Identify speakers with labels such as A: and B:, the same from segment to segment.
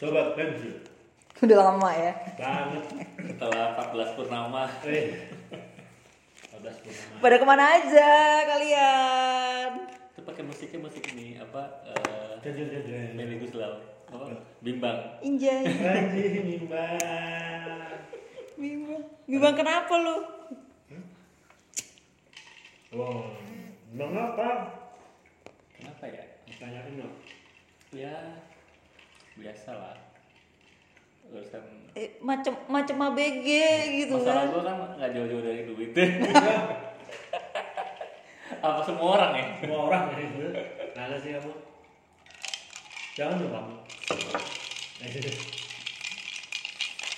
A: Ganjil
B: Udah lama ya.
A: banget.
C: setelah 14 purnama
A: Eh, 14 purnama.
B: Pada kemana aja kalian?
C: itu pakai musiknya musik ini apa eh
A: Ganjil ganjil.
C: Melly Guslau apa bimbang
B: Injay.
A: Ganjil nimbang.
B: Bimbang. Bimbang kenapa lu?
A: Wow, mengapa?
C: kenapa ya
A: Pertanyaan lo.
C: ya biasalah urusan
B: Eh, macam macam ABG gitu
C: masalah
B: kan.
C: gue kan nggak jauh-jauh dari duit apa semua orang ya
A: Semua orang ya itu. Ada sih kamu. Jangan dong kamu. Eh,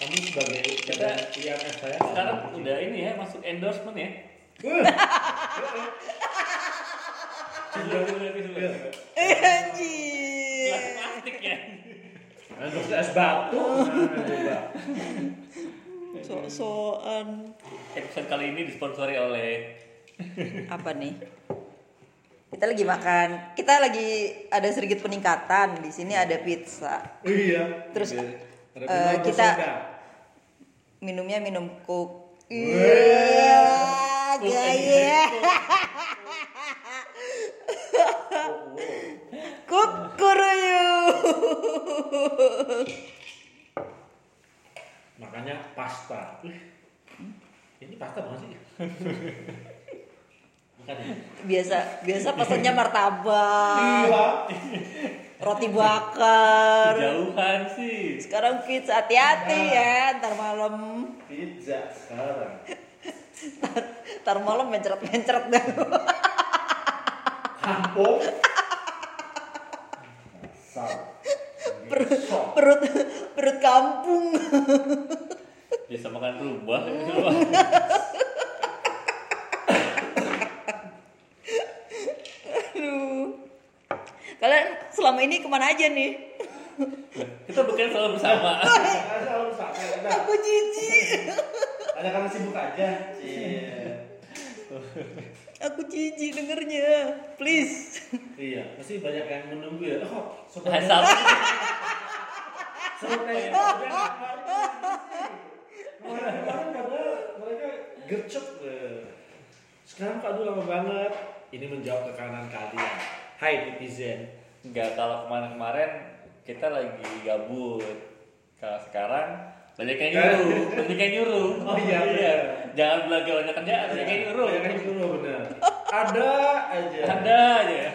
A: Kamu sebagai kita lihat saya
C: sekarang udah ini ya masuk endorsement ya Jauh-jauh dari duit.
A: Iya.
B: Eh, anjir.
C: Gelas plastik ya
A: Terus es batu. Nah, coba.
B: Sok-sokan.
C: episode kali ini disponsori oleh
B: apa nih? Kita lagi makan. Kita lagi ada sedikit peningkatan. Di sini ada pizza.
A: Iya.
B: Terus
C: Ada-
A: Ada
B: eh,
A: kenal
B: kita
A: bersoda.
B: minumnya minum Coke. Iya,
A: Wah.
B: gaya. Cook
A: Makanya pasta. Ih, Ini pasta bukan sih? bukan ya?
B: Biasa biasa pesannya martabak,
A: Iya.
B: roti bakar.
C: kejauhan sih
B: Sekarang kids hati-hati ya, ntar malam
A: Pizza sekarang.
B: ntar malam mencret-mencret dah.
A: Kampung. Asal. Besok.
B: perut perut kampung.
C: bisa makan rubah
B: Aduh. Kalian selama ini kemana aja nih?
C: kita bukan selalu bersama
A: Karena saya harus sampai. Nah,
B: Aku jijik.
A: Ada karena sibuk aja. Iya.
B: Aku jijik dengernya. Please.
A: Iya, pasti banyak yang menunggu ya. Oh, sobat
C: Asal
A: Sampai kemarin karena mereka gercep eh. Sekarang Pak Du lama banget. Ini menjawab kekanan kalian. Hai netizen.
C: nggak kalau kemarin-kemarin kita lagi gabut kalau sekarang banyak yang nyuruh banyak yang nyuruh
A: Oh, iya, bener. Iya.
C: jangan bilang gak banyak kerjaan banyak yang nyuruh
A: Banyak yang nyuruh benar. Ada aja.
C: ada aja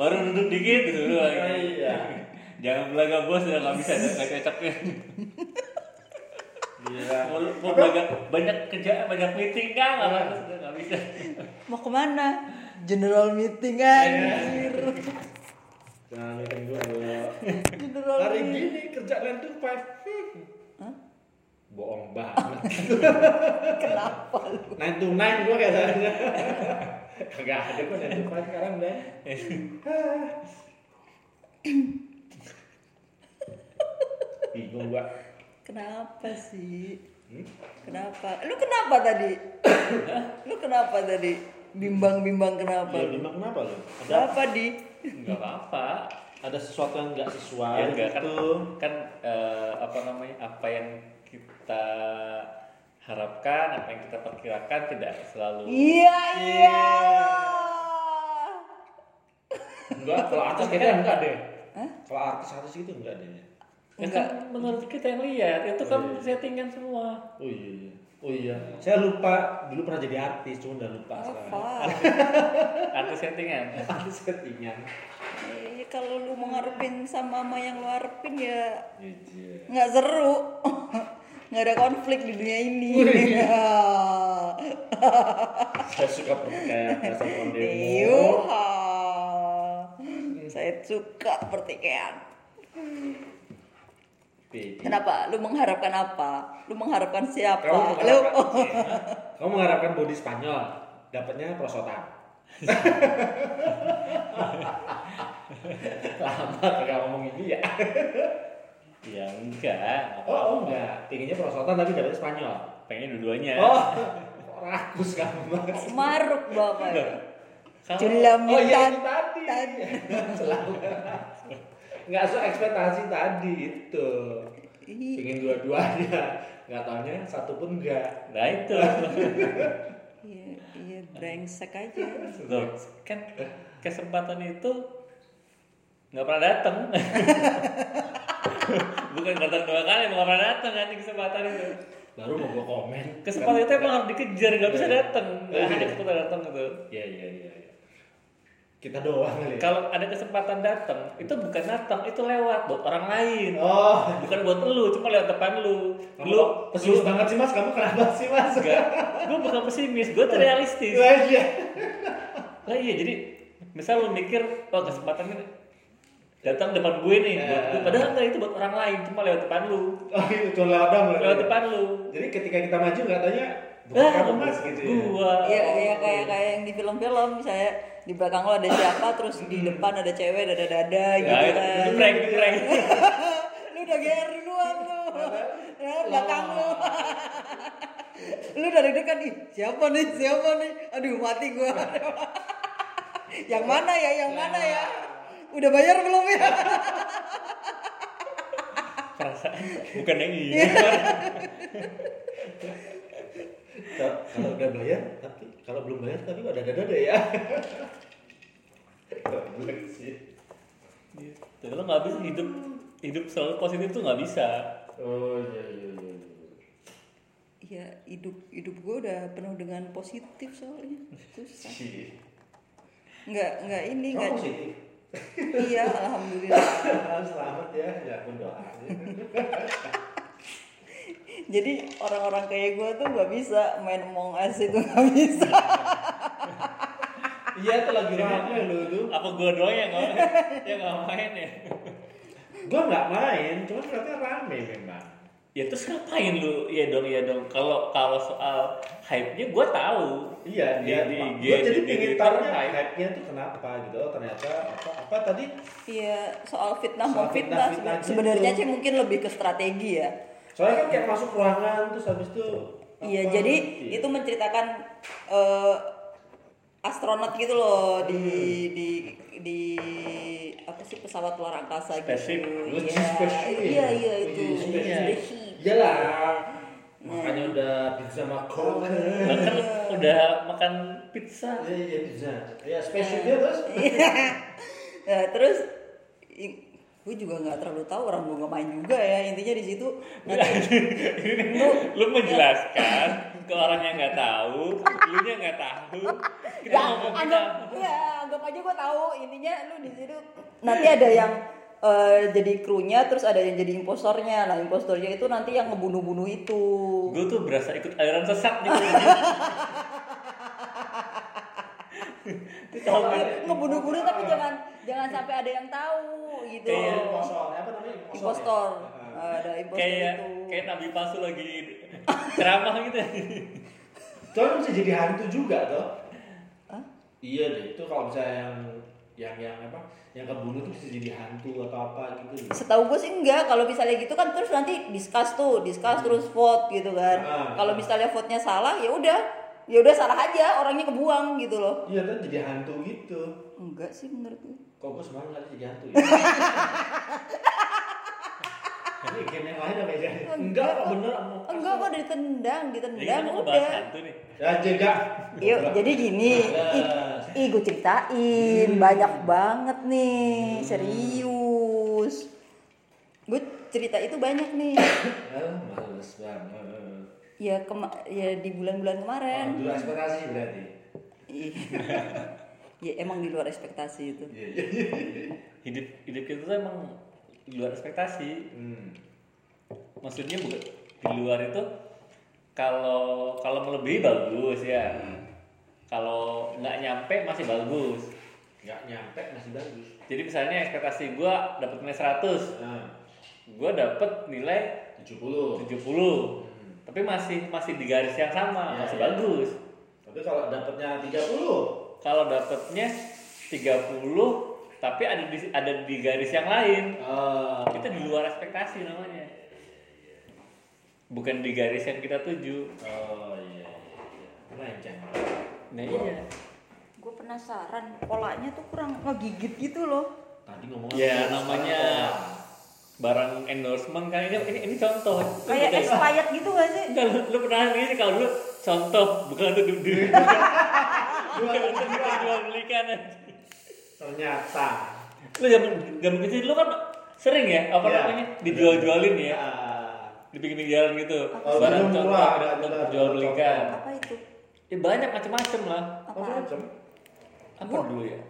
C: baru duduk dikit dulu lagi
A: Iya.
C: jangan bilang gak bos ya nggak bisa ada nggak cocoknya
A: Gila.
C: mau, mau banyak banyak kerjaan banyak meeting kan
A: Iya.
C: nggak harus udah nggak bisa
B: Mau kemana? General meeting anjir.
A: Jangan bikin gua dulu.
B: General
A: Iya. Hari
B: meeting.
A: gini kerja 9 to 5. Hmm. Bohong banget.
B: Kenapa lu?
A: 9 to 9 gua kayaknya. Enggak ada gua 9 to 5 sekarang udah. Bingung gua.
B: Kenapa sih?
A: Hmm?
B: Kenapa? Lu kenapa tadi? lu kenapa tadi? Bimbang-bimbang kenapa?
A: Ya,
B: lu?
A: Bima kenapa lo? Ada
B: Kenapa di?
C: nggak apa-apa
A: ada sesuatu yang nggak sesuai
C: ya enggak kan
A: gitu.
C: kan eh, apa namanya apa yang kita harapkan apa yang kita perkirakan tidak selalu
B: Iya iya.
A: Enggak, kalau artis kayaknya enggak deh. Kalau artis artis gitu enggak deh.
C: ya kan menurut kita yang lihat itu kan
A: Oh, iya.
C: settingan semua
A: Oh iya, iya. Oh iya. Saya lupa dulu pernah jadi artis, cuma
B: Oh,
A: udah lupa sekarang.
B: Apa?
C: artis settingan
A: Artis settingan.
B: Iya kalau lu mau ngarepin sama sama yang lu harapin ya
A: Iya.
B: nggak seru. nggak ada konflik di dunia ini. Ya. Iya.
A: Saya suka pertikaian bahasa
B: Iya.
A: kondemo.
B: Saya suka pertikaian.
C: Iya,
A: Baby.
B: Kenapa? Lu mengharapkan apa? Lu mengharapkan
A: Kamu
B: siapa? Lu oh,
A: mengharapkan, Iya. kamu mengharapkan body Spanyol, dapatnya prosotan. Lama kagak ngomong ini ya.
C: ya enggak apa
A: Oh, enggak, pinginnya prosotan tapi dapatnya Spanyol.
C: pengen dua-duanya
A: Oh, kok rakus kamu banget.
B: maruk bapak.
C: Kalau-
B: Julam
A: Oh iya itu tadi. Selalu. Enggak sesuai ekspektasi tadi itu.
B: Ih,
A: ingin dua-duanya nggak taunya satu pun enggak
C: Nah itu
B: Iya, iya brengsek aja.
C: Loh, kan
A: Eh.
C: kesempatan itu nggak pernah datang. Bukan datang dua kali, emang nggak pernah datang kan kesempatan itu.
A: baru mau gue komen
C: Kesempatan itu
A: Kan-
C: emang harus dikejar, nggak bisa
A: Iya.
C: datang, nggak
A: Iya.
C: ada kesempatan datang gitu.
A: iya iya iya iya. kita doang kali ya
C: Kalau ada kesempatan datang, itu bukan datang, itu lewat buat orang lain.
A: oh
C: Bukan buat lu, cuma lewat depan lu.
A: kamu
C: Lu
A: pesimis banget sih mas kamu kenapa sih mas
C: enggak. Gue bukan pesimis, gue tuh realistis.
A: Lah, iya
C: Lah iya jadi misal lu mikir oh kesempatan ini datang depan gue nih
A: Eh.
C: buat gue. padahal enggak itu buat orang lain cuma lewat depan lu
A: oh itu cuma lewat doang berarti.
C: lewat depan lu
A: jadi ketika kita maju nggak tanya bukan
C: ah
A: kamu mas gitu ya
C: gua
B: Iya, iya kayak kayak yang di film-film misalnya di belakang lo ada siapa terus di depan ada cewek dada-dada
C: Ya,
B: gitu
C: itu, itu
B: kan.
C: prank itu prank
B: lu udah GR duluan lu ya belakang lu lu dari dekat nih siapa nih siapa nih aduh mati gua yang mana ya yang mana ya udah bayar belum ya
C: perasaan bukan yang iya
A: Ka- kalau udah bayar tapi kalau belum bayar tapi ada dada dada ya Goblok sih.
C: jadi lo Gitu. nggak bisa hidup hidup selalu positif tuh nggak bisa
A: oh iya iya iya iya.
B: ya hidup hidup gua udah penuh dengan positif soalnya susah
A: Sih.
B: nggak nggak ini nggak
A: kamu positif
B: iya alhamdulillah
A: Ah, selamat ya ya pun doa
B: jadi orang-orang kayak gua tuh nggak bisa main Among Us itu nggak bisa
A: iya tuh lagi rame lu tuh
C: apa gua doang yang nggak yang nggak main ya
A: gua nggak main cuma ternyata rame memang
C: ya terus ngapain lu ya dong ya dong kalau kalau soal hype nya gua tahu
A: Iya,
C: Di-
A: dia
C: di IG,
A: gua jadi
C: di- di
A: pengen
C: Twitter,
A: tahu
C: hype.
A: hype-nya tuh kenapa gitu. Oh, ternyata apa apa tadi
B: Iya, soal fitnah
A: Soal
B: mau
A: fitnah,
B: fitnah,
A: fitnah gitu.
B: sebenarnya sih mungkin lebih ke strategi ya.
A: soalnya kan kayak masuk ruangan terus habis itu
B: Iya,
A: apa,
B: jadi
A: gitu.
B: itu menceritakan eh, astronot gitu loh di di di apa sih pesawat luar angkasa gitu.
C: Spaceship.
A: Lu
B: Iya,
A: spaceship.
B: iya, iya itu.
A: Lu
B: Iya.
A: spaceship. Iyalah.
B: Nah.
A: Makanya udah pizza sama coke.
C: Lah kan
B: Iya.
C: udah makan pizza
A: Iya, iya pizza. Ya spesialnya terus.
B: Iya. Nah, terus i- gue juga nggak terlalu tahu orang gue nggak main juga ya intinya di situ
C: Iya.
B: nanti
C: lu menjelaskan ke orang yang nggak tahu, lu nya nggak tahu. Kita
B: ya
C: ngomong kita
B: anggap ya anggap aja gue tahu intinya lu di situ nanti ada yang eh, jadi krunya terus ada yang jadi impostornya nah impostornya itu nanti yang ngebunuh-bunuh itu
C: gue tuh berasa ikut aliran
B: Ah,
C: sesat gitu.
B: Tahu, Gitu. ngebunuh-bunuh tapi jangan jangan sampai ada yang tahu gitu
C: Kayak
A: Impostor, apa namanya? Impostor.
B: impostor
A: ya? Heeh.
B: Eh, ada impostor
C: kayak
B: itu
C: kayak nabi palsu lagi ceramah gitu.
A: Soalnya bisa jadi hantu juga toh.
B: Hah?
A: Iya deh, itu kalau misalnya yang yang yang apa? Yang kebunuh tuh bisa jadi hantu atau apa gitu.
B: setahu gue sih enggak kalau misalnya gitu kan terus nanti discuss tuh discuss terus vote gitu kan
A: Ah.
B: kalau misalnya vote nya salah ya udah ya udah salah aja orangnya kebuang gitu loh
A: Iya, tuh jadi hantu gitu.
B: enggak sih menurut gue
A: Kok gue semalam tadi jadi hantu ya? Ini game yang lain apa ya? Enggak, kok bener mau
B: enggak kok ditendang
C: Jadi kan kita
B: ditendang
C: mau ngebahas
B: Ya, udah
C: hantu nih.
A: Ya jaga.
B: yuk jadi gini ih, ih gue ceritain banyak banget nih serius gue cerita itu banyak nih
A: Ah, males banget.
B: ya kema ya di bulan-bulan kemarin
A: Oh, dulu ekspektasi berarti.
B: Iya. ya emang di luar ekspektasi itu
A: Iya, iya, iya.
C: Hidup hidup kita tuh emang di luar ekspektasi.
A: Hmm.
C: Maksudnya bukan di luar itu kalau kalau melebihi bagus ya.
B: Hmm.
C: Kalau nggak nyampe masih bagus.
A: Enggak nyampe masih bagus.
C: Jadi misalnya ekspektasi gua dapat nilai 100,
A: Nah,
C: gua dapat nilai
A: 70.
C: 70.
A: Hmm.
C: Tapi masih masih di garis yang sama,
A: Iya,
C: masih
A: iya.
C: bagus.
A: Tapi kalau dapatnya 30,
C: Kalau dapatnya 30 tapi ada di ada di garis yang lain.
A: eh
C: Itu di luar ekspektasi namanya. Bukan di garis yang kita tuju.
A: oh iya. iya, iya. Melenceng.
C: Nah, iya.
B: gue penasaran polanya tuh kurang ngegigit gitu loh
A: Tadi ngomong
C: Ya Iya, namanya barang endorsement kan ini ini, ini contoh Lu
B: Kayak
C: bukan-
B: expired gitu gak sih?
C: Enggak, lu, lu pernah ini sih kalau lu contoh bukan untuk diri bukan untuk dijual belikan
A: ternyata
C: lu zaman zaman kecil lu kan sering ya apa
A: Iya.
C: namanya dijual-jualin ya
A: Ah.
C: di pinggir jalan gitu
A: Oh,
C: barang
A: belum
C: contoh
A: murah,
C: barang untuk
A: belum
C: dijual belikan
B: Apa itu?
C: ya banyak macam-macam lah
B: Apaan?
A: macam
C: apa dulu ya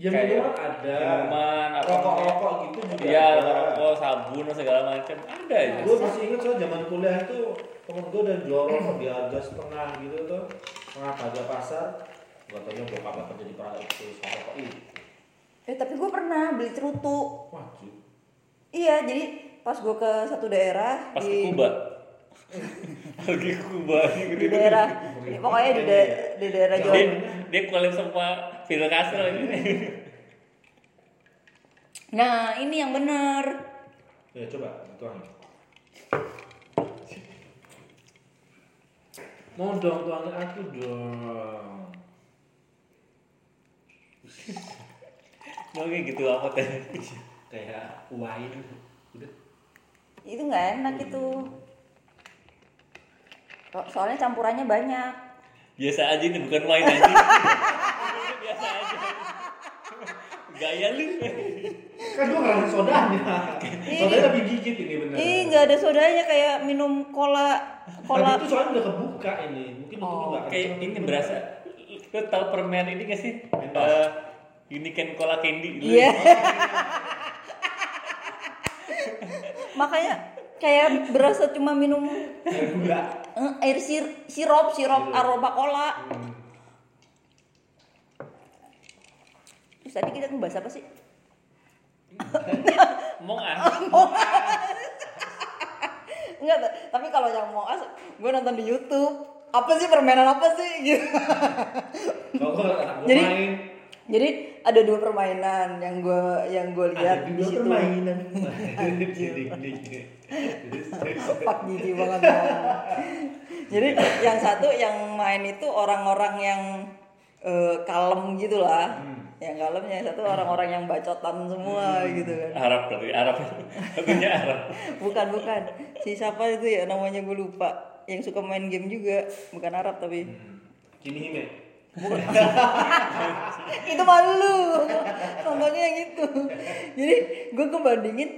A: ya
C: Kayak
A: minuman ada
C: minuman, apa
A: rokok-rokok gitu juga
C: iya
A: ada.
C: rokok sabun segala macam ada ya? aja
A: gue masih inget soal zaman kuliah tuh temen gue udah jual rokok di harga setengah gitu tuh setengah harga pasar gak taunya gue kabar kerja di Prada itu soal rokok ih
B: Eh tapi gue pernah beli cerutu.
A: wah cuy
B: Iya jadi pas gue ke satu daerah
C: pas ke
B: di
C: Kuba pergi ke Kuba
B: di daerah pokoknya di, da- di daerah Jawa
C: dia dia collab sama Fidel Castro ini
B: Nah, ini yang bener.
A: ya coba tuangin mau dong tuangin aku dong
C: Oke gitu apa teh?
A: kayak wine udah
B: Itu nggak enak itu. So- Soalnya campurannya banyak.
C: Biasa aja ini bukan wine aja. Biasa aja. Gaya lu.
A: kan gue ngerasa sodanya sodanya lebih gigit ini bener
B: Ih, nggak ada sodanya kayak minum cola
A: Tapi
B: cola.
A: itu soalnya udah kebuka ini mungkin itu
B: Oh,
A: nggak
C: Kayak
A: kenceng.
C: ini berasa. Lu tau permen ini gak sih?
A: Mentos.
C: Eh, ini kan cola candy. Lu-
B: Iya. Makanya kayak berasa cuma minum
A: Kayak gula
B: eh, air sir- sirup sirup aroma cola.
A: Hmm.
B: Terus tadi kita ngebahas apa sih?
C: Mong ah.
B: Enggak, ta- tapi kalau yang mau as, gue nonton di YouTube. Apa sih permainan apa sih? Gitu.
A: kalau gue anak gue
B: Jadi-
A: main
B: Jadi ada dua permainan yang gue yang gue
A: ada
B: lihat di
A: dua
B: situ.
A: permainan Dinding-dinding. Terus, terus.
B: Pak jijik banget. Bang. Jadi yang satu yang main itu orang-orang yang eh, kalem gitu lah.
A: Hmm.
B: Yang kalem yang satu orang-orang yang bacotan semua gitu kan.
C: Arab berarti Arab. Artinya Arab.
B: Bukan bukan. Si siapa itu ya namanya gue lupa. Yang suka main game juga, bukan Arab tapi.
A: kini hime
B: itu malu contohnya yang itu jadi gue kebandingin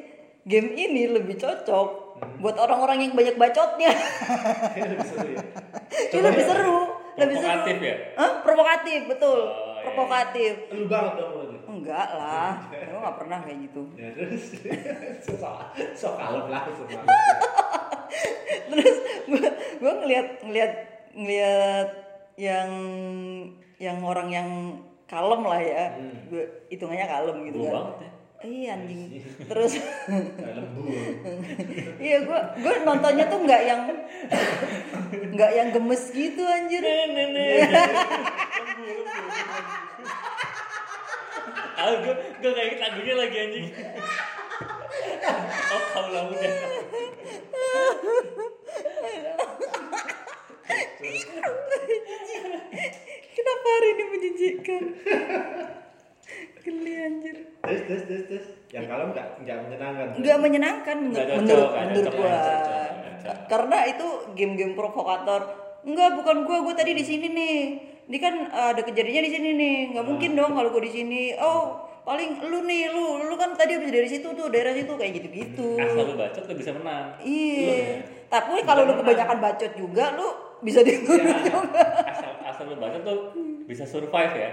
B: game ini lebih cocok
C: Hmm.
B: buat orang-orang yang banyak bacotnya
A: Kayaknya
B: ini
A: lebih seru ya
B: lebih seru lebih seru
C: Provokatif ya?
B: Hah? provokatif betul
C: Oh, iya.
B: provokatif
A: lu banget dong lu tuh.
B: enggak lah gue nggak pernah kayak gitu
A: ya terus sok sok kalem langsung
B: terus gue gue ngelihat ngelihat ngelihat yang yang orang yang kalem lah ya gue hitungannya kalem gitu
C: Hmm. Bau
B: kan
C: banget ya.
B: iya anjing terus
A: Kayak lembu
B: iya gue gue nontonnya tuh nggak yang nggak yang gemes gitu anjir
C: Nenek. Ah, gue gue kayak lagunya lagi anjing. Oh, kau lah udah.
B: kenapa hari ini menjijikkan geli anjir
A: terus terus terus terus yang kalem nggak nggak menyenangkan
B: nggak menyenangkan menur-
C: Nggak cocok,
B: menurut
C: nggak
B: menurut
C: cocok,
B: gua
C: nggak cocok, nggak cocok.
B: karena itu game-game provokator enggak bukan gua gua tadi di sini nih ini kan uh, ada kejadiannya di sini nih
C: Ah.
B: nggak mungkin dong kalau gua di sini oh paling lu nih lu lu kan tadi habis dari situ tuh daerah situ kayak gitu gitu
C: Asal lu bacot lu bisa menang.
B: Iya. Iya. Tapi kalau lu kebanyakan bacot juga lu bisa dituduh juga.
C: Asal asal lu bacot tuh bisa survive ya.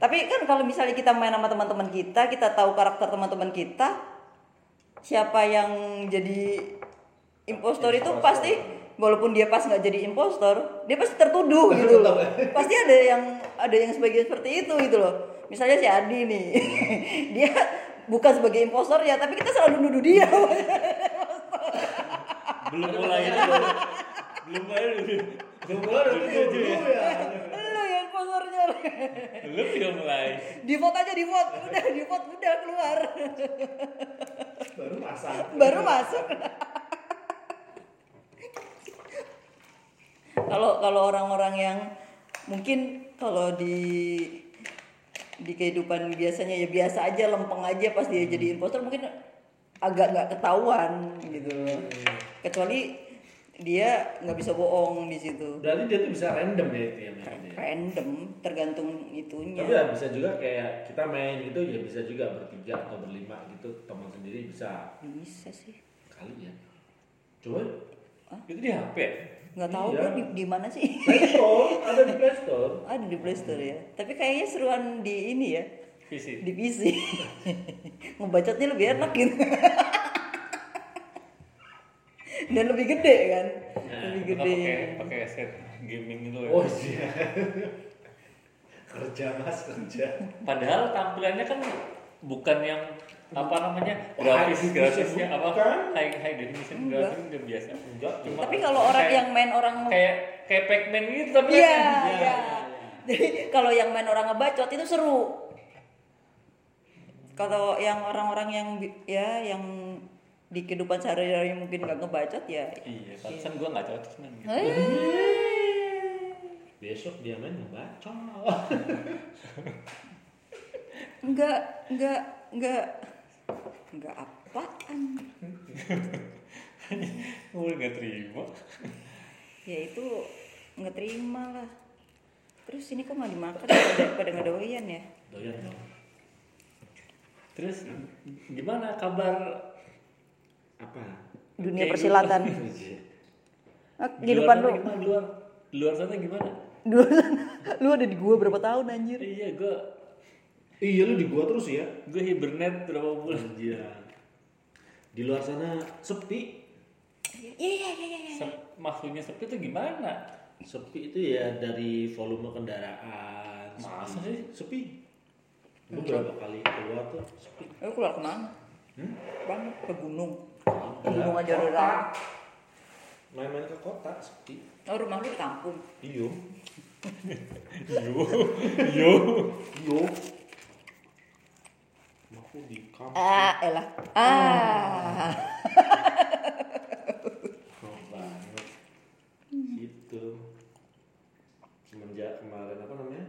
B: Tapi kan kalau misalnya kita main sama teman-teman kita, kita tahu karakter teman-teman kita, siapa yang jadi impostor itu pasti walaupun dia pas nggak jadi impostor, dia pasti tertuduh gitu loh. Pasti ada yang ada yang sebagian seperti itu gitu loh. Misalnya si Adi nih, dia bukan sebagai impostor ya, tapi kita selalu nuduh dia.
C: Belum mulai itu baru- belum mulai lu.
A: gue mulai dari itu ya
B: Lu yang impostornya.
C: Belum juga mulai.
B: di vote aja di vote udah di vote udah keluar
A: baru masak
B: baru masuk kalau kalau orang-orang yang mungkin kalau di di kehidupan biasanya ya biasa aja lempeng aja pas dia jadi imposter mungkin agak nggak ketahuan gitu loh. Kecuali dia nggak bisa bohong di situ.
A: Berarti dia tuh bisa random ya itu ya mainnya.
B: Iya. Random tergantung itunya.
A: Tapi ya bisa juga kayak kita main gitu ya bisa juga bertiga atau berlima gitu teman sendiri bisa
B: Bisa sih.
A: kali ya. Coba
C: Itu di HP ya?
B: Nggak tahu
A: Iya.
B: gue di, di mana sih.
A: Playstore ada di Playstore.
B: Ada di Playstore ya. Tapi kayaknya seruan di ini ya.
C: PC.
B: Di PC. Ngebacotnya lebih enak gitu. Dan lebih gede kan. Lebih
C: Kita
B: gede.
C: Iya, Nah, pakai pakai set gaming itu ya.
A: Oh iya. kerja mas kerja.
C: Padahal tampilannya kan bukan yang apa namanya
A: High
C: grafis
A: definition
C: grafisnya apa
A: bukan.
C: high high definition
B: Enggak.
C: grafis udah biasa.
A: Enggak.
C: Cuma
B: Tapi kalau orang
C: kayak-
B: yang main orang
C: kayak kayak Pac-Man gitu tapi
B: Iya,
C: kan-
B: iya. Jadi kalau yang main orang ngebacot itu seru. Kalau yang orang-orang yang bi- ya yang di kehidupan sehari-hari mungkin nggak ngebacot ya.
C: Iya, pantesan gue gak cocok main gitu.
A: Besok dia main ngebacot.
B: Enggak, enggak, enggak. Enggak apaan.
C: Gue gak terima.
B: Ya itu nggak terima lah. Terus ini kok nggak dimakan pada, pada nggak doyan ya?
A: Doyan dong.
C: Terus gimana kabar
A: Apa?
B: Dunia
C: Kayak
B: persilatan. Ah, Kehidupan
C: sana
B: lu.
C: Gimana di luar? Di luar sana gimana?
B: Dulu lu ada di gua berapa tahun anjir?
C: Iya, gue
A: Iya lu di gua terus ya.
C: gue hibernate berapa bulan.
A: Iya. Di luar sana sepi.
B: Iya iya iya iya.
C: Sep- maksudnya sepi tuh gimana?
A: Sepi itu ya dari volume kendaraan.
C: Masa
A: sepi.
C: sih?
A: Sepi. Lu berapa kali keluar tuh sepi.
B: iya. Lu keluar kemana? Bang, ke gunung. Hmm? Ke
A: Enggak.
B: gunung aja udah. lama.
A: Main-main ke kota sepi.
B: Oh, rumah lu di kampung.
A: Iyo.
C: Yo, yo.
A: Iyo. Aku di kampung.
B: Ah, elah. Ah.
A: Oh, banget.
B: Hmm.
A: Gitu. Semenjak kemarin apa namanya?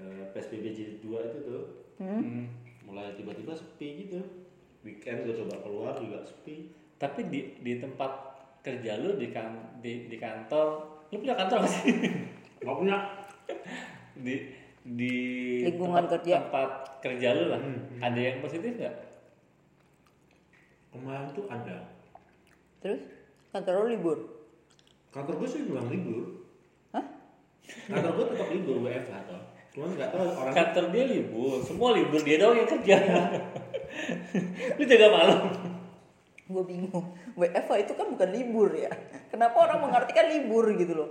A: eh, PSBB jilid 2 itu tuh
C: Hmm.
A: mulai tiba-tiba sepi gitu. Weekend gue coba keluar juga sepi.
C: Tapi di di tempat kerja lu di kan di, di kantor, lu punya kantor gak sih?
A: Gak punya.
C: di di
B: Lingkungan
C: tempat,
B: kerja.
C: tempat kerja lu lah. Ada yang positif nggak?
A: Kemarin tuh ada.
B: Terus kantor lu libur.
A: Kantor gue sih bilang libur.
B: Hah?
A: Kantor gue tetap libur WFH toh. Cuman nggak tahu orang
B: Kan-
C: Kantor dia libur, semua libur dia doang yang kerja.
B: Iya.
C: lu jaga malam.
B: Gua bingung. WFH itu kan bukan libur ya. Kenapa orang mengartikan libur gitu loh?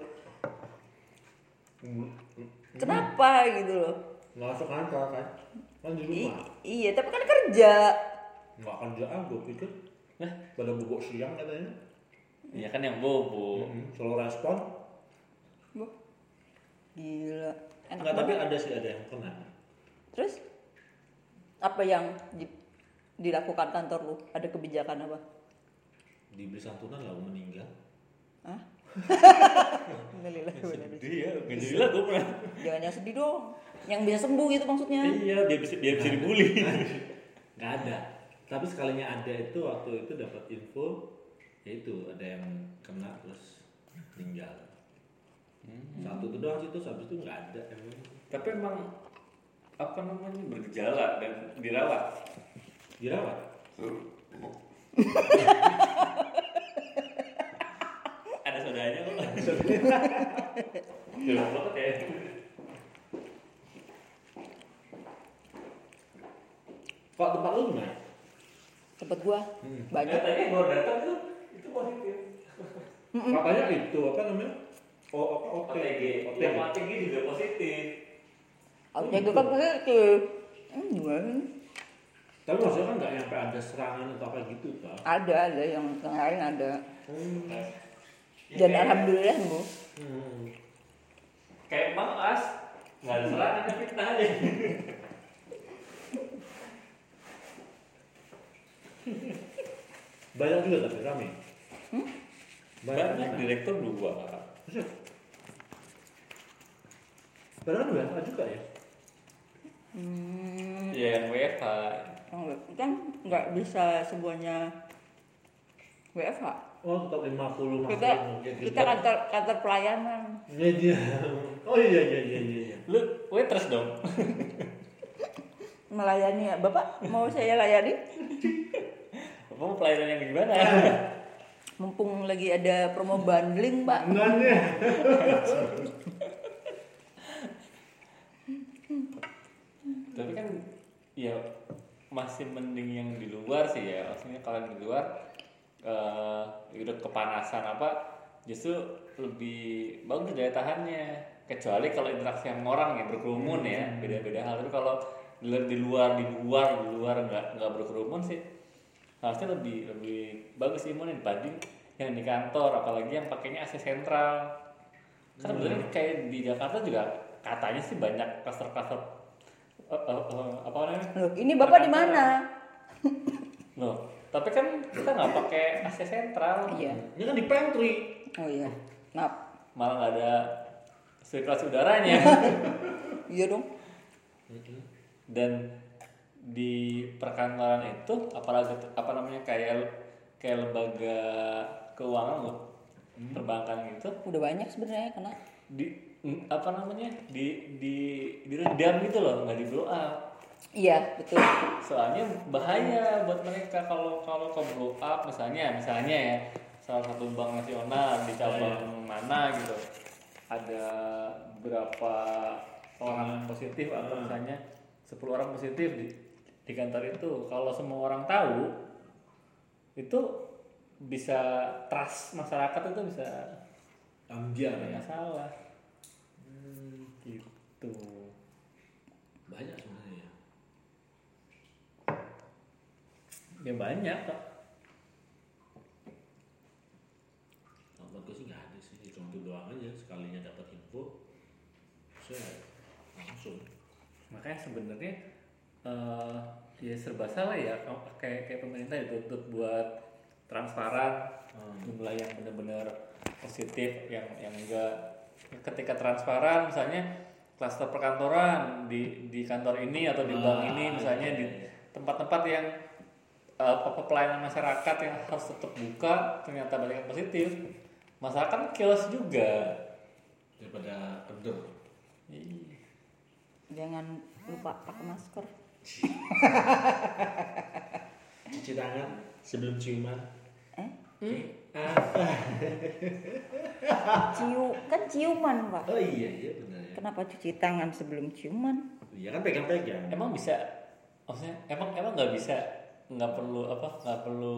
B: Kenapa gitu loh?
A: nggak masuk kantor kan. Kan di
B: I-
A: rumah.
B: iya, tapi kan kerja.
A: Nggak kerjaan gue pikir.
C: Nah,
A: Pada bubuk siang katanya.
C: ya kan
B: Hmm.
C: yang bobo.
A: Mm-mm, Selalu respon.
B: Wah, Gila. Enak
A: Nggak tapi
B: banget.
A: ada sih ada yang kena.
B: Terus apa yang di- dilakukan kantor lu? Ada kebijakan apa?
A: Dibeli santunan lalu meninggal.
B: Hah? Alhamdulillah. benar.
C: Dia ya, nggak jadi lah gue pernah.
B: Jangan yang sedih dong. Yang bisa sembuh gitu maksudnya.
C: iya, dia bisa dia bisa dibully.
A: Nggak ada. Tapi sekalinya ada itu waktu itu dapat info yaitu ada yang kena terus meninggal. Satu itu doang sih terus habis itu nggak ada emang.
C: Tapi emang apa namanya bergejala dan dirawat.
A: Dirawat.
C: Ada saudaranya kok. Jorok banget ya.
A: Kalau tempat lu gimana?
B: Tempat gua banyak.
C: Katanya baru datang tuh itu positif.
A: Katanya itu apa namanya? Oh, apa
C: OTG, yang OTG juga positif.
B: Harusnya gua kan begitu. Hmm,
A: Tapi maksudnya kan nggak nyampe ada serangan atau apa gitu kan?
B: ada ada yang kemarin ada.
A: Hmm.
C: Nah. Ya
B: Dan
C: Iya.
B: alhamdulillah gua.
A: Hmm.
C: kayak Mang As nggak ada serangan tapi kita aja
A: Banyak juga tapi rame. Banyak.
C: banyak
A: juga.
C: direktur dua
A: Maksudnya, Padahal dua apa juga ya?
B: Hmm,
C: ya yang WFH
B: kan nggak bisa semuanya WFH.
A: Oh tetap 50 masih
B: Kita
A: iya, mungkin
B: kita kan- kantor kantor pelayanan.
A: Iya iya. Oh iya iya iya iya. iya.
C: Lu waitress dong.
B: Melayani ya, Bapak mau saya layani?
C: Apa pelayanan yang gimana?
B: Mumpung lagi ada promo bundling, Pak.
A: Enggak nih.
C: Tapi kan ya masih mending yang di luar sih ya. Maksudnya kalian di luar eh udah kepanasan apa justru lebih bagus daya tahannya. Kecuali kalau interaksi sama orang ya berkerumun ya, beda-beda hal. Tapi kalau di luar di luar di luar di luar nggak nggak berkerumun sih harusnya lebih lebih bagus imunnya dibanding yang di kantor apalagi yang pakainya AC sentral karena sebenarnya kayak di Jakarta juga katanya sih banyak kluster-kluster eh, eh, eh, apa namanya
B: Loh, ini Bapak di mana?
C: loh tapi kan kita nggak pakai AC sentral
B: Iya.
A: Ini kan di pantry.
B: Oh iya. Maaf.
C: malah nggak ada sirkulasi udaranya
B: Iya dong.
C: dan di perkantoran itu apalagi apa namanya kayak kayak lembaga keuangan loh perbankan gitu
B: Udah banyak sebenarnya kena.
C: di n- apa namanya di di diredam gitu loh nggak di blow up
B: Iya, betul.
C: soalnya bahaya buat mereka kalau kalau ke blow up misalnya misalnya ya salah satu bank nasional di cabang mana gitu ada berapa orang positif atau misalnya 10 orang positif di, di kantor itu kalau semua orang tahu itu bisa trust masyarakat itu bisa
A: Ambiar ya.
C: masalah Hmm, gitu
A: Banyak sebenarnya.
C: Ya banyak kok.
A: Kalau buat gue sih nggak ada sih. Cuma itu doang aja sekalinya dapat info. Saya langsung.
C: Makanya sebenarnya eh ya serba salah ya kalau kayak kayak pemerintah dituntut buat transparan jumlah yang benar-benar positif yang yang enggak ketika transparan misalnya klaster perkantoran di di kantor ini atau di bank ini misalnya di tempat-tempat yang eh, apa pelayanan masyarakat yang harus tetap buka ternyata banyak yang positif masyarakat kan chaos juga
A: Daripada kendor.
B: Jangan lupa pakai masker.
A: Cuci tangan sebelum ciuman.
B: Eh?
A: Apa?
B: Ciu, kan ciuman, Pak.
A: Oh iya iya benar ya.
B: Kenapa cuci tangan sebelum ciuman?
A: Iya kan pegang-pegang.
C: emang bisa maksudnya emang emang nggak bisa nggak perlu apa nggak perlu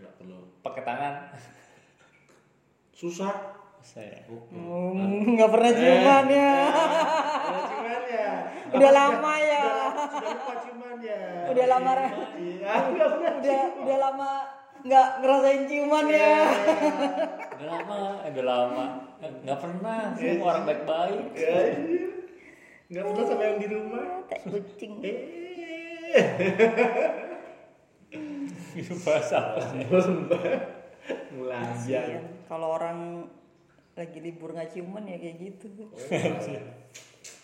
A: Nggak perlu.
C: pakai tangan
A: Susah.
C: saya
B: Oh, nggak pernah ciuman ya.
A: Ada ciuman ya.
B: Udah lama ya.
A: Sudah lupa ciuman ya.
B: Udah lama
A: Iya. Udah udah.
B: udah udah lama nggak ngerasain ciuman ya.
C: udah lama eh, udah lama Eh, nggak pernah semua orang baik-baik
A: Ya, iya. Nggak pernah sama yang di rumah.
B: Tai kucing.
A: Eh.
C: itu bahasa apa sih?
A: Mulai.
B: Kasian. Kalau orang lagi libur nggak ciuman ya kayak gitu.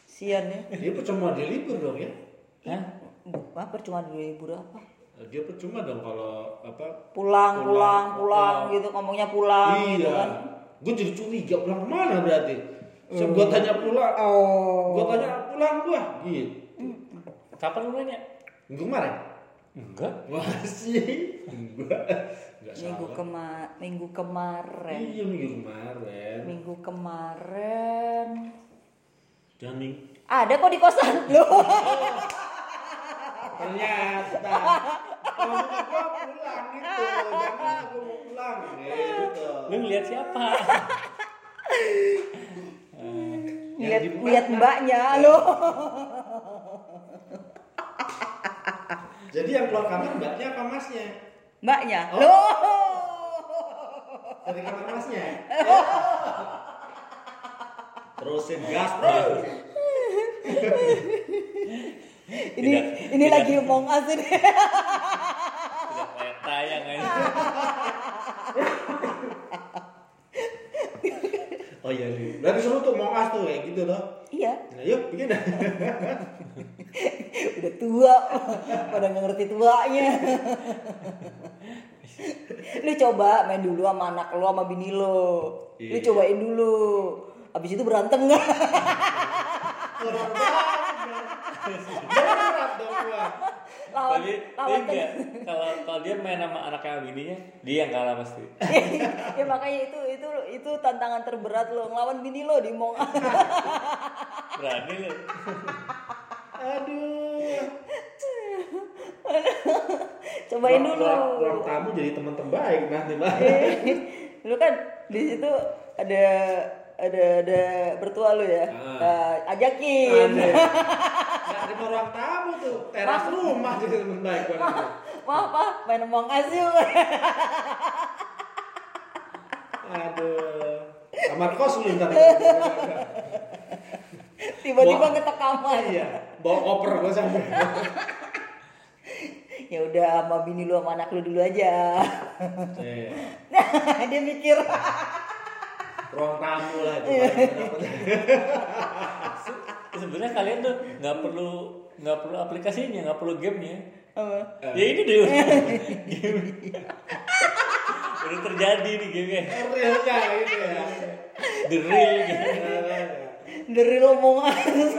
B: Sian ya.
A: Dia percuma dia libur dong ya.
C: Hah?
B: Apa percuma dulu libur apa?
A: Dia percuma dong kalau apa?
B: Pulang, pulang, pulang, gitu ngomongnya pulang gitu kan.
A: iya. Gue jadi curiga pulang kemana berarti? Sebab gua tanya pulang,
B: Hmm. Oh.
A: gua tanya pulang gua. Gitu.
C: kapan lu nanya
A: Minggu kemarin?
C: enggak
A: Wah sih, enggak, enggak
B: Minggu
A: salah.
B: kema minggu kemarin.
A: Iya minggu kemarin.
B: Minggu kemarin.
A: Dan ming-
B: Ada kok di kosan lu.
A: ternyata kalau gua pulang gitu, jangan aku mau pulang gitu.
C: lu ngeliat siapa
B: Lihat lihat mbaknya lu.
A: Jadi yang keluar kamar mbaknya apa masnya?
B: Mbaknya.
A: Oh.
B: Lu.
A: Dari kamar masnya. Ya. Terusin gas bro.
B: Ini
C: Tidak,
B: ini
C: tidak.
B: lagi omong asin.
C: tidak kayak tayang aja
A: Oh iya nih. Berarti seru tuh mau ngas tuh ya gitu loh.
B: iya,
A: Nah, yuk bikin dah.
B: udah tua. Pada nggak ngerti tuanya. lu coba main dulu sama anak lu sama bini lo lu
A: Iya.
B: cobain dulu habis itu berantem nggak
A: Berat banget. Berat dong gua.
B: lawan
C: Tapi dia
B: lawan
C: enggak. Kalau kalau dia main sama anaknya sama bininya, dia yang kalah pasti.
B: ya makanya itu itu itu tantangan terberat lo ngelawan bini lo di mong
C: Berani lu.
A: Aduh.
B: cobain
A: Ruang-
B: dulu
A: ruang- Ruang tamu jadi teman terbaik nanti banget.
B: lu kan di situ ada ada ada bertua lu ya
A: Ah.
B: Nah, ajakin
A: Gak terima ruang tamu tuh, teras rumah jadi teman baik gua gitu. nanti.
B: maaf pak main mong Us yuk
A: Aduh. Kamar kos lu ntar.
B: tiba-tiba
A: Wah.
B: ngetek kamar
A: Iya, bawa koper gua sampai.
B: ya udah sama bini lu sama anak lu dulu aja Nah,
A: Iya.
B: dia mikir
A: Ruang tamu lah itu. paling dapet.
C: Sebenarnya kalian tuh nggak perlu nggak perlu aplikasinya, nggak perlu gamenya.
B: Apa?
C: Ya ini deh. game. Udah terjadi nih gamenya.
A: Realnya gitu ya.
C: The real game.
B: dari lo mong Us.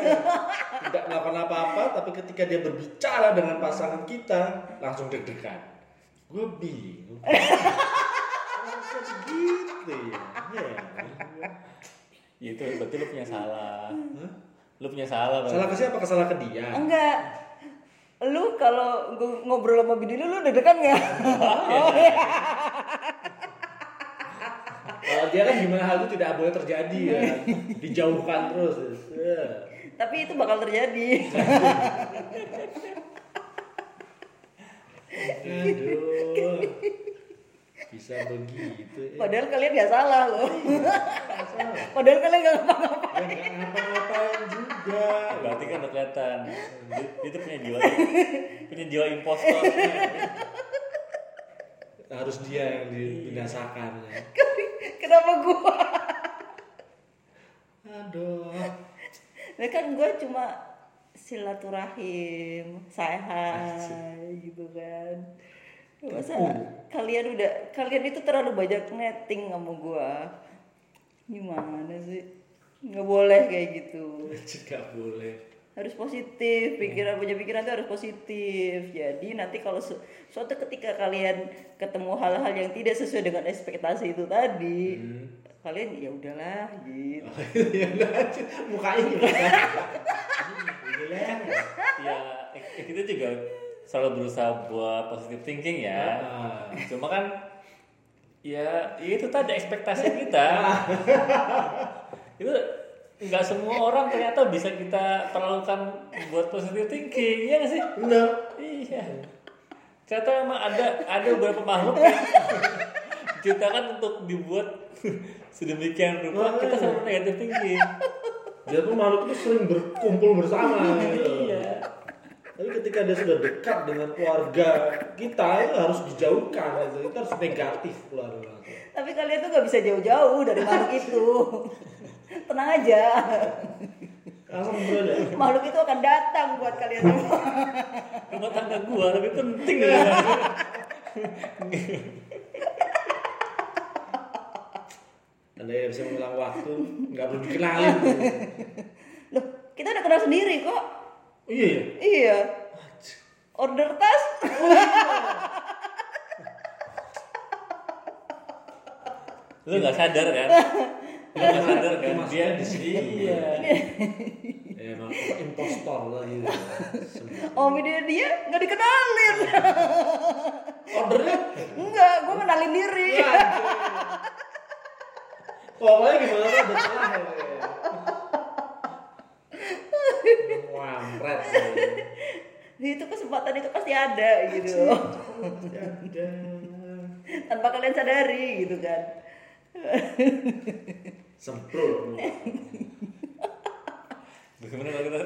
A: Tidak melakukan apa-apa, tapi ketika dia berbicara dengan pasangan kita, langsung deg-degan. Gue bingung. Kenapa Gitu ya. Ya.
C: Ya itu berarti lu punya salah. Lu punya salah
A: Salah
C: bang.
A: ke siapa? Salah ke dia.
B: enggak lu kalau ng- ngobrol sama bini lu lu deg-degan nggak oh, iya.
A: Kalau dia kan gimana hal itu tidak boleh terjadi ya. Dijauhkan terus. Ya.
B: tapi itu bakal terjadi
A: Aduh. Bisa begitu ya.
B: padahal kalian nggak salah loh padahal kalian nggak ngapa-ngapa
A: Ya nggak ngapa-ngapain juga.
C: Berarti kan udah kelihatan. Dia- Dia tuh punya jiwa punya jiwa impostor.
A: Harus dia yang dibinasakan. ya.
B: kenapa gua
A: Aduh.
B: Nah kan gue cuma silaturahim, saya hai gitu kan. Masa kalian udah kalian itu terlalu banyak netting sama gue. Gimana sih? Nggak boleh kayak gitu.
A: Gak boleh.
B: Harus positif, pikiran punya pikiran itu harus positif. Jadi nanti kalau su- suatu ketika kalian ketemu hal-hal yang tidak sesuai dengan ekspektasi itu tadi, kalian ya udahlah gitu.
A: Ya udah, Mukanya gimana? Gila.
C: ya eh, kita juga selalu berusaha buat positive thinking ya
A: Ah.
C: cuma kan ya ya itu tadi ekspektasi kita itu nggak semua orang ternyata bisa kita perlakukan buat positive thinking ya nggak sih
A: Bener.
C: iya ternyata emang ada ada beberapa makhluk yang diciptakan untuk dibuat sedemikian rupa kita selalu negative thinking
A: Dia tuh makhluk itu sering berkumpul bersama. gitu.
C: iya
A: Tapi ketika dia sudah dekat dengan keluarga kita itu harus dijauhkan gitu. Itu harus negatif gitu. keluarga.
B: Tapi kalian tuh gak bisa jauh-jauh dari makhluk itu. Tenang aja.
A: Alhamdulillah.
B: Makhluk itu akan datang buat kalian semua.
C: rumah tangga gua lebih penting iya. daripada
A: Anda ya bisa mengulang waktu, nggak perlu dikenalin. tuh.
B: Loh, kita udah kenal sendiri kok.
A: Iya ya.
B: Iya. Order tas.
C: lu nggak sadar kan lu nggak sadar kan dia
A: Maksudnya di sini.
C: iya
A: Ya, Emang impostor lah gitu. Semua.
B: Om dia dia nggak dikenalin.
A: Ordernya?
B: Enggak, gue kenalin diri.
A: waduh. Pokoknya gimana tuh ada celah ya. Wampret.
B: Di itu kesempatan itu pasti ada gitu.
A: Ada.
B: Tanpa kalian sadari gitu kan.
A: Semprot.
C: bagaimana kalau kita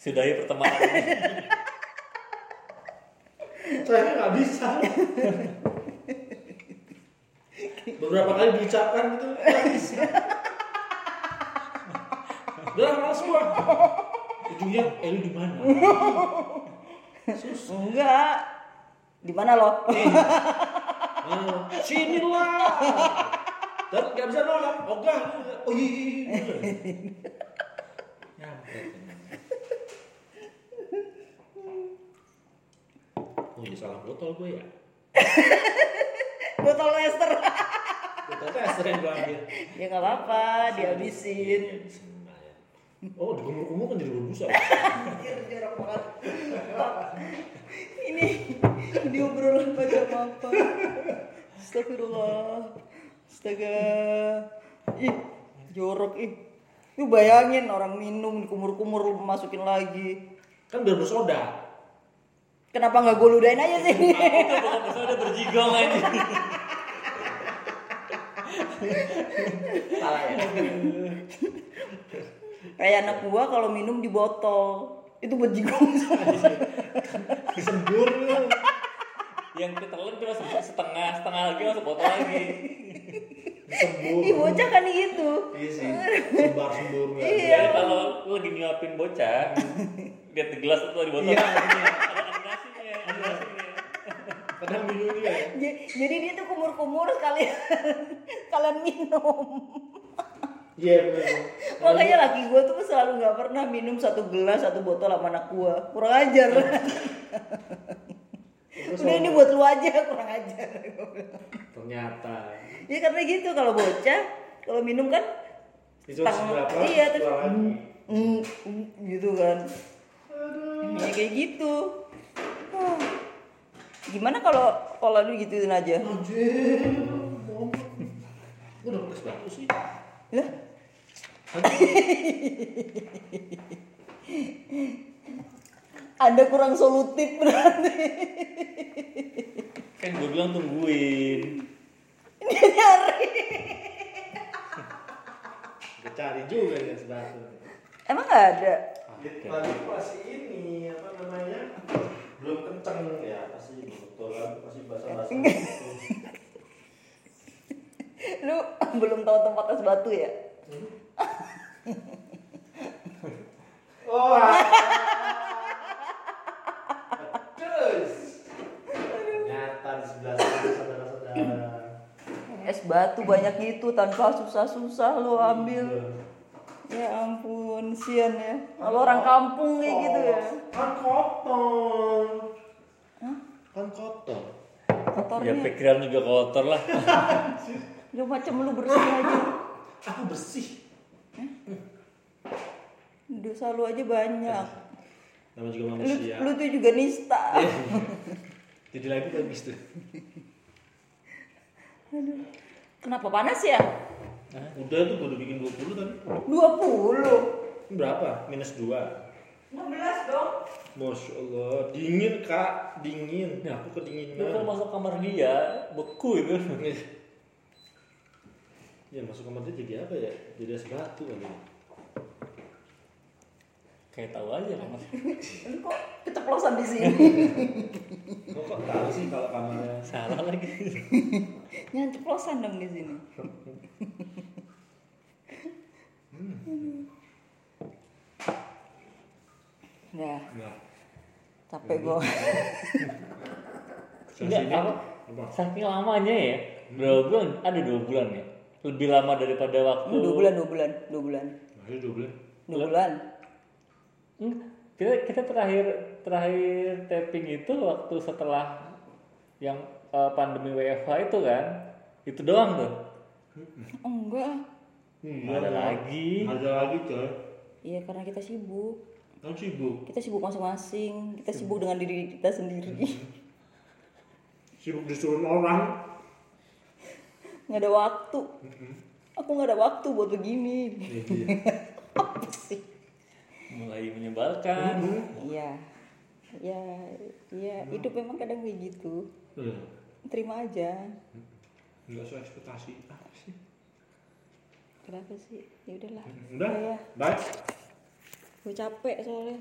C: sudahi pertemanan
A: saya nggak bisa beberapa kali diucapkan gitu nggak bisa udah malas gua ujungnya eh lu di mana
B: Enggak. Di mana lo?
A: sinilah tapi nggak bisa nolak ogah oh iya iya, Ya, iya Nyampet, emang. oh ini salah botol gue ya
D: botol Lester
A: botol tester yang gue ambil
B: ya nggak apa-apa dihabisin
A: Iya, dihabisin, lumayan. oh dikumur-kumur kan jadi berbusa
B: Iya,
D: Anjir, jorok banget ini di obrolan pajak apa
B: Astagfirullah. Astaga. Ih, jorok ih. Lu bayangin orang minum dikumur-kumur lu masukin lagi.
A: kan biar bersoda
B: Kenapa nggak gue ludahin aja sih?
C: itu bukan bersoda berjigong aja
A: salah ya
B: Kayak anak gua kalau minum di botol. Itu buat jigong.
A: disembur lu
C: yang ketelan cuma se- setengah setengah lagi masuk botol lagi
A: disembur
B: Ih, bocah kan gitu.
A: iya sih Iya. sembar sembur nggak ada.
C: jadi
B: Iya.
C: kalau lu lagi nyuapin bocah lihat di gelas itu di botol
A: Iya,
C: ada ya. animasinya animasinya
A: kadang minum juga ya
B: J- Jadi dia tuh kumur-kumur sekalian kalian minum.
A: iya benar
B: Makanya laki gua tuh selalu nggak pernah minum satu gelas satu botol sama anak gua. Kurang ajar. Udah ini buat lu aja kurang ajar. Gua bilang.
A: ternyata
B: Ya karena gitu kalau bocah kalau minum kan
A: itu
B: Tang-
A: berapa
B: iya, terus-
A: keluar lagi.
B: mm, mm, gitu kan. Ya, kayak gitu. Hah. Gimana kalau kalau lu gituin aja?
A: anjir ngomong. Gua udah bekas batu sih
B: Lah, Anda kurang solutif berarti.
C: kan gue bilang tungguin
B: Dia nyari.
A: Gua cari juga dia sebatu
B: Emang nggak ada?
E: Tadi masih ini apa namanya? Belum kenceng ya, pasti betul kan, pasti basah-basah. gitu.
B: Lu belum tahu tempat es batu ya?
E: Hmm? Oh. ah. Terus. Ternyata di sebelah sana saudara-saudara.
B: Es batu banyak gitu tanpa susah-susah lu ambil.
E: Iya.
B: Ya ampun, sian ya. Kalau orang kampung kayak gitu ya.
E: Kan kotor.
A: kan kotor
C: ya
B: Kotornya.
C: pikiran juga kotor lah
B: Ya macam lu bersih aja.
A: aku bersih
B: Dosa lu aja banyak.
A: nama juga
B: Lu,
A: manusia Iya.
B: lu tuh juga nista.
A: jadi kan lagi bagus tuh
B: Kenapa panas ya?
A: udah tuh gua udah bikin 20 tadi
B: 20.
A: Ini berapa minus 2
B: 16 dong.
A: Masya Allah, dingin kak, dingin. Nah,
C: lu
A: aku
C: kalau
A: kedinginan.
C: masuk kamar dia beku itu
A: Iya. Ya masuk kamar dia jadi apa ya? Jadi es batu kali. ya.
C: kayak tahu aja kamar
B: Lu kok keceplosan di sini?
A: Kok kok tahu sih kalau kamarnya?
C: salah lagi
B: Jangan ceplosan dong di sini. Udah,
A: Nah,
B: Ya, capek gua.
C: Enggak,
A: sini
C: apa? Saking lamanya ya, berapa bulan? Ada dua bulan ya. Lebih lama daripada waktu.
B: Dua bulan, dua bulan, dua bulan,
A: Masih dua bulan.
B: dua bulan.
C: Enggak, Kita, kita terakhir terakhir taping itu waktu setelah yang eh, pandemi WFH itu kan, itu doang tuh.
B: Oh, enggak.
A: Iya,
C: Hmm, ada
A: iya.
C: lagi.
A: Ada lagi coy.
B: Iya karena kita sibuk.
A: Kan sibuk,
B: Kita sibuk masing-masing. Kita sibuk dengan diri kita sendiri.
A: sibuk disuruh orang.
B: Nggak ada waktu. Aku nggak ada waktu buat begini.
A: Mm-hmm.
B: Apa sih?
C: Mulai menyebalkan.
A: Mm-hmm.
B: Iya, ya, ya hidup memang kadang kayak gitu.
A: Iya.
B: Terima aja.
A: Enggak sesuai ekspektasi. Apa sih?
B: Kenapa sih? Ya udahlah.
A: Udah.
B: Iya.
A: Bye.
B: Gue capek soalnya.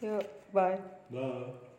B: Yuk, bye.
A: Bye.